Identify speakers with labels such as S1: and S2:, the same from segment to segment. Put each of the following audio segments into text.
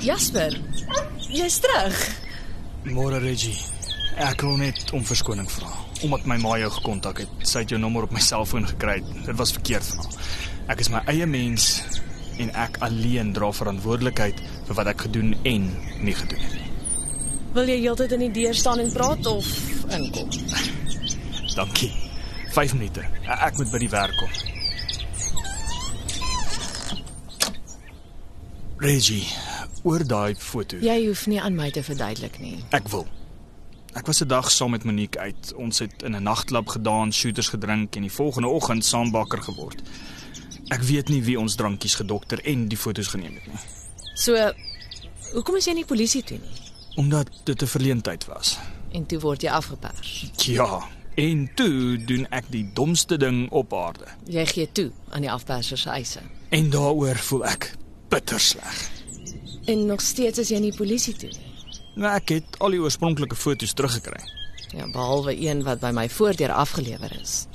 S1: Jasper, jy's terug.
S2: Môre Reggie. Ek wil net om verskoning vra omdat my ma jou gekontak het. Sy het jou nommer op my selfoon gekry. Dit was verkeerd van haar. Ek is my eie mens en ek alleen dra verantwoordelikheid vir wat ek gedoen en nie gedoen het nie.
S1: Wil jy heeltyd in die deur staan en praat of inkom?
S2: Dankie. 5 minute. E- Ek moet by die werk kom. Reggie, oor daai foto.
S1: Jy hoef nie aan my te verduidelik nie.
S2: Ek wil. Ek was 'n dag saam met Monique uit. Ons het in 'n nagklub gedaan, shooters gedrink en die volgende oggend saam bakker geword. Ek weet nie wie ons drankies gedokter en die fotos geneem het nie,
S1: So, hoekom is jy nie polisie toe nie?
S2: omdat dit 'n verleentheid was.
S1: En toe word jy afgepers.
S2: Ja, en toe doen ek die domste ding op aarde.
S1: Jy gee toe aan die afperser se eise.
S2: En daaroor voel ek bitter sleg.
S1: En nog steeds is jy nie polisie toe nie.
S2: Nou ek het al die oorspronklike fotos teruggekry.
S1: Ja, behalwe een wat by my voordeur afgelewer is.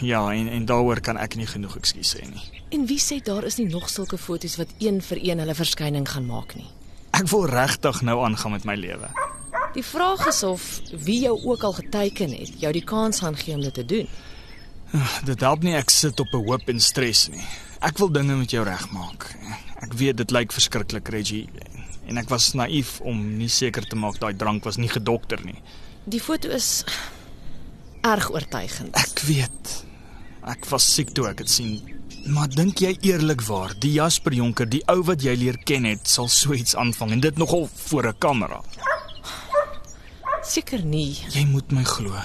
S2: Ja, en en daaroor kan ek nie genoeg ekskuus sê nie.
S1: En wie sê daar is nie nog sulke foto's wat een vir een hulle verskyning gaan maak nie?
S2: Ek wil regtig nou aangaan met my lewe.
S1: Die vraag is of wie jou ook al geteken het, jou die kans gaan gee om dit te doen.
S2: Dit help nie ek sit op 'n hoop en stres nie. Ek wil dinge met jou regmaak. Ek weet dit lyk verskriklik, Reggie, en ek was naïef om nie seker te maak daai drank was nie gedokter nie.
S1: Die foto is erg oortuigend.
S2: Ek weet. Ek was siek toe ek dit sien. Maar dink jy eerlikwaar, die Jasper Jonker, die ou wat jy leer ken het, sal so iets aanvang en dit nogal voor 'n kamera.
S1: Seker nie.
S2: Jy moet my glo.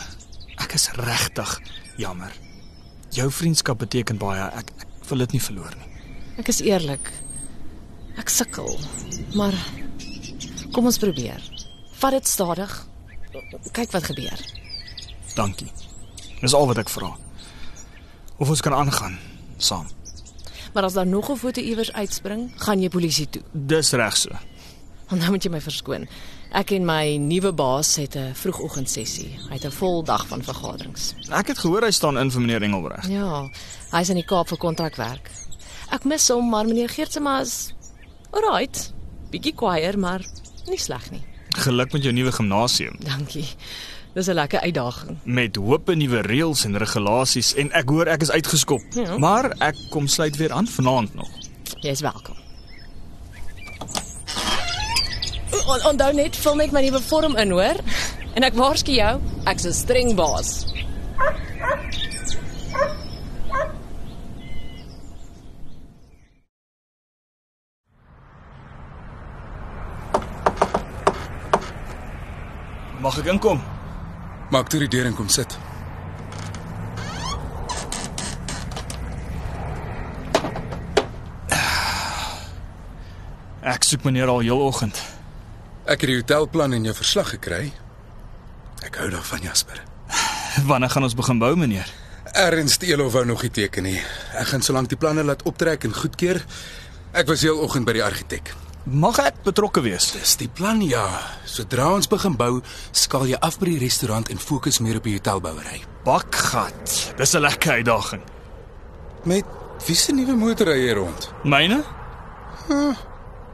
S2: Ek is regtig jammer. Jou vriendskap beteken baie. Ek, ek wil dit nie verloor nie.
S1: Ek is eerlik. Ek sukkel. Maar kom ons probeer. Vat dit stadig. Kyk wat gebeur.
S2: Dankie. Dis al wat ek vra. Of ons kan aangaan saam.
S1: Maar as daar nog 'n foto iewers uitspring, gaan jy polisie toe.
S2: Dis reg so.
S1: Want nou moet jy my verskoon. Ek en my nuwe baas het 'n vroegoggendsessie. Hy het 'n vol dag van vergaderings.
S2: Ek het gehoor hy staan in vir meneer Engelbreg.
S1: Ja, hy's in die Kaap vir kontrakwerk. Ek mis hom, maar meneer Geertsema is alright. Bietjie kwaier, maar nie sleg nie.
S2: Geluk met jou nuwe gimnasium
S1: Dankie. Dis 'n lekker uitdaging.
S2: met hoop en nuwe reëls en regulasies en ek hoor ek is uitgeskop.
S1: Ja.
S2: Maar ek kom sluit weer aan vanaand nog.
S1: Jy's welkom. On, onthou net vul net my nuwe vorm in, hoor? En ek waarsku jou, ek's 'n streng baas.
S2: Mag ek inkom?
S3: Maak toe die deur en kom sit.
S2: Ek soek meneer al heeloggend.
S3: Ek het die hotelplan en jou verslag gekry. Ek hou daarvan, Jasper.
S2: Wanneer gaan ons begin bou, meneer?
S3: Ernst Elo wou nog nie teken nie. Ek gaan solank die planne laat optrek en goedkeur. Ek was heeloggend by die argitek.
S2: Mag ek betrokke wees?
S3: Dis die plan ja. Sodra ons begin bou, skaal jy af by die restaurant en fokus meer op die hotelbouery.
S2: Bakgat. Dis 'n lekker uitdaging.
S3: Met wie se nuwe motorry hier rond?
S2: Myne?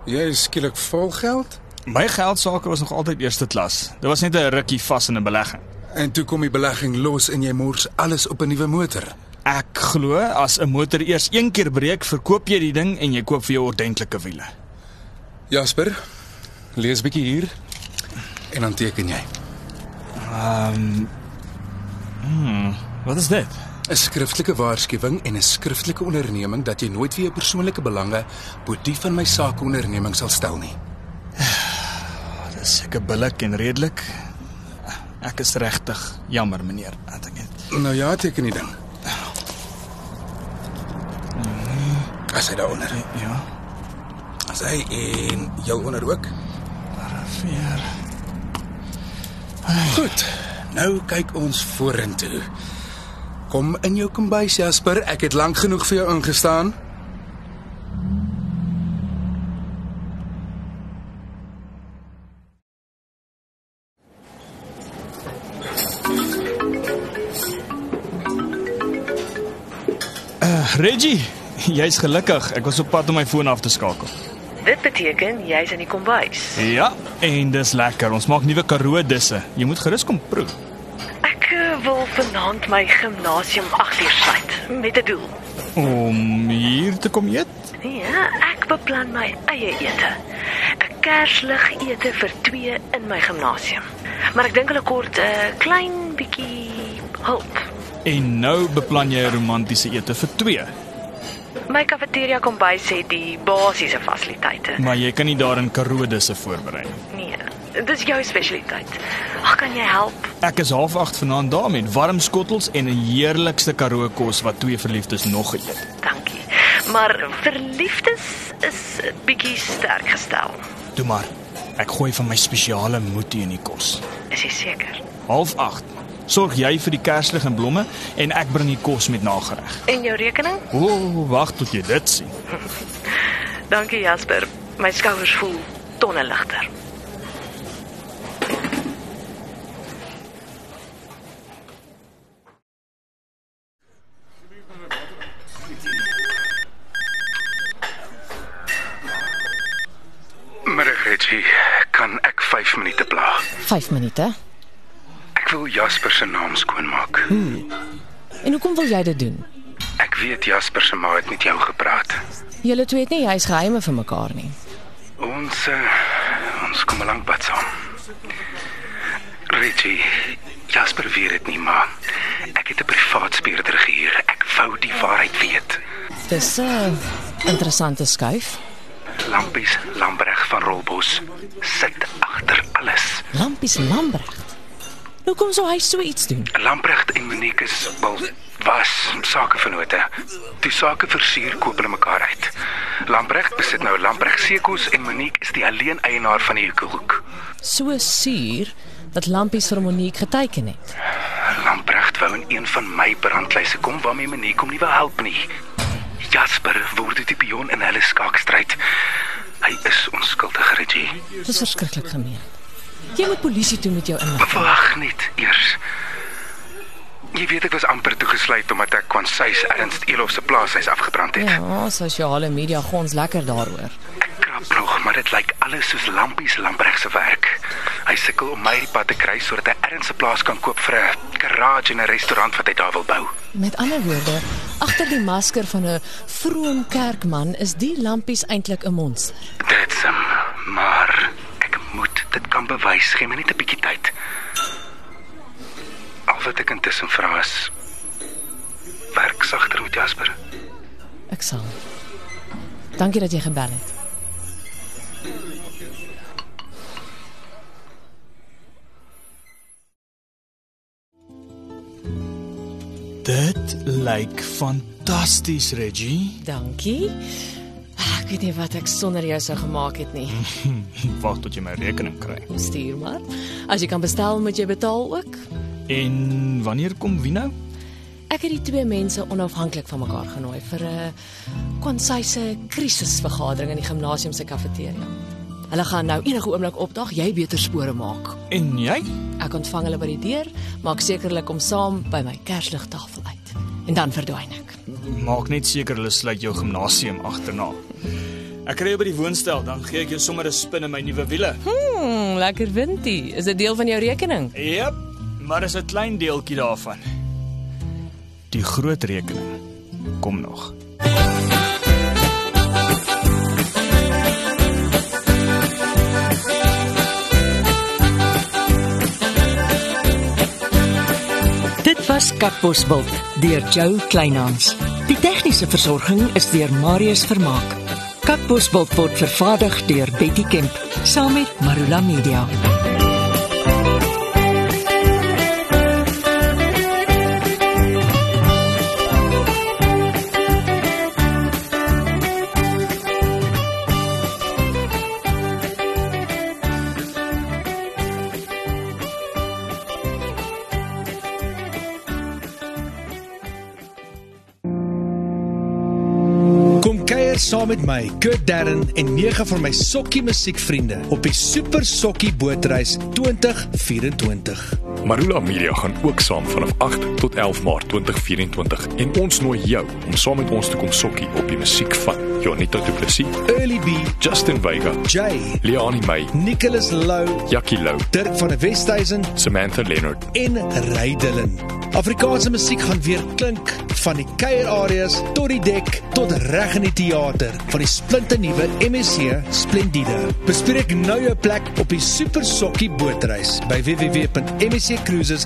S3: Jy is skielik vol geld
S2: My geld sake was nog altyd eerste klas. Dit was net 'n rukkie vas in 'n belegging.
S3: en toe kom die belegging los en jy mors alles op 'n nuwe motor.
S2: Ek glo as 'n motor eers een keer breek, verkoop jy die ding en jy koop vir jou ordentlike wiele.
S3: Jasper, lees bietjie hier en dan teken jy.
S2: Wat is dit?
S3: 'n skriftelike waarskuwing en 'n skriftelike onderneming dat jy nooit weer jou persoonlike belange bo die van my sakeonderneming sal stel nie.
S2: Dit is seker billik en redelik. Ek is regtig jammer, meneer, dat ek dit.
S3: Nou ja, teken die ding.
S4: As hy daaronder.
S2: Ja.
S4: As hy en jou onder ook.
S2: Veer.
S4: Goed. Nou kyk ons vorentoe. Kom in jou kombuis Jasper, ek het lank genoeg vir jou ingestaan.
S2: Reggie, jy's gelukkig. Ek was op pad om my foon af te skakel.
S5: Dit beteken jy's in die kombuis.
S2: Ja, en dis lekker. Ons maak nuwe Karoo disse. Jy moet gerus kom proe.
S5: Ek eh, wil vanaand my gimnasium 8 uur sluit met 'n doel.
S2: Om hier te kom eet?
S5: Ja, ek beplan my eie ete. 'n Kerslig ete vir twee in my gimnasium. Maar ek dink hulle kort 'n klein bietjie hulp.
S2: En nou beplan jy 'n romantiese ete vir 2,
S5: My kafeteria kombuis het die basiese fasiliteite.
S2: maar jy kan nie daarin Karoo disse voorberei nie.
S5: Nee, dis jou spesialiteit. Ag, kan jy help?
S2: Ek is half 8 vanaand daar met warm skottels en 'n heerlikste Karoo kos wat twee verliefdes nog eet. het.
S5: Dankie. Maar verliefdes is 'n bietjie sterk gestel.
S2: Toe maar. Ek gooi van my spesiale moetie in die kos.
S5: Is jy seker?
S2: Half 8. Sorg jy vir die kerslig en blomme en ek bring die kos met nagereg.
S5: En jou rekening?
S2: O, oh, wag tot jy dit sien.
S5: Dankie Jasper. My skouers voel tonne ligter.
S3: Middag Reggie, kan ek 5 minute pla?
S1: 5 minute.
S3: Ek wil Jasper se naam skoonmaak.
S1: En hoekom wil jy dit doen?
S3: Ek weet Jasper se ma het met jou gepraat.
S1: Julle twee het nie huis geheime vir mekaar nie.
S3: Ons uh, ons kom 'n lang pad saam. Reggie, Jasper weet dit nie, maar ek het 'n privaat speurder gehuur. Ek wou die waarheid weet.
S1: Dis 'n interessante skuif.
S3: Lampies Lambreg van Rolbos sit agter alles.
S1: Lampies Lambrecht. Hoekom sou hy so iets doen?
S3: Lamprecht en Monique is wel was sakevennote. Die sake versuur koop hulle mekaar uit. Lamprecht besit nou Lamprecht Sekos en Monique is die alleen eienaar van die hoekhoek.
S1: So suur dat Lampies vir Monique geteken het.
S3: Lamprecht wou in een van my brandlyse kom waarmee Monique hom nie wil help nie. Jasper word die pion in hulle skaakstryd. Hy is onskuldig, Reggie.
S1: Dis verskriklik gemeen. Jy moet polisie toe met jou inlig.
S3: Wag net eers. Jy weet ek was amper toegesluit omdat ek kwansuis Ernst Elof se plaashuis afgebrand het.
S1: Ja, sosiale media gons lekker daaroor.
S3: Ek krap nog, maar dit lyk alles soos Lampies Lambreg se werk. Hy sukkel om my die pad te kry sodat hy ernstige plaas kan koop vir 'n garage en 'n restaurant wat hy daar wil bou.
S1: Met ander woorde, agter die masker van 'n vroom kerkman is die Lampies eintlik 'n monster.
S3: Dit's hom, maar ek moet dit kan bewys. Gee my net 'n bietjie tyd. Al wat ek intussen vra is werk sagter met Jasper.
S1: Ek sal. Dankie dat jy gebel het.
S2: Dit lyk fantasties, Reggie.
S1: Dankie. Ah, Ek weet nie wat ek sonder jou sou gemaak het nie.
S2: Wag tot jy my rekening kry.
S1: Stuur maar. As jy kan bestel, moet jy betaal ook.
S2: En wanneer kom wie nou?
S1: Ek het die twee mense onafhanklik van mekaar genooi vir 'n konsyse krisisvergadering in die gimnasium se kafeteria. Hulle gaan nou enige oomblik opdag, jy beter spore maak.
S2: En jy?
S1: Ek ontvang hulle by die deur, maak sekerlik om saam by my kersligtafel uit en dan verdwyn ek.
S2: Maak net seker hulle sluit jou gimnasium agterna. Ek kry jou by die woonstel, dan gee ek jou sommer 'n spin in my nuwe wiele.
S1: Hmm, lekker windie. Is dit deel van jou rekening?
S2: Jep, maar is 'n klein deeltjie daarvan. Die groot rekening kom nog.
S6: Dit was Katbosveld deur Jo Kleinhans. Die tegniese versorging is deur Marius Vermaak. Katbosveld word vervaardig deur Betty Kemp saam met Marula Media.
S7: kuier saam met my, Kurt Darren en nege van my sokkie musiekvriende op die Super Sokkie Bootreis 2024.
S8: Marula Media gaan ook saam vanaf 8 tot 11 Maart 2024 en ons nooi jou om saam met ons te kom sokkie op die musiek van Jonita Du Plessis,
S7: Early B,
S8: Justin Vega,
S7: Jay,
S8: Leoni May,
S7: Nicholas Lou,
S8: Jackie Lou,
S7: Dirk van der Westhuizen
S8: Samantha Leonard.
S7: en Ray Dillon. Afrikaanse musiek gaan weer klink van die kuierareas tot die dek tot reg in die teater van die splinternuwe MSC Splendide. Bespreek nou jou plek op die Super Sokkie bootreis by www.msccruises.co.za.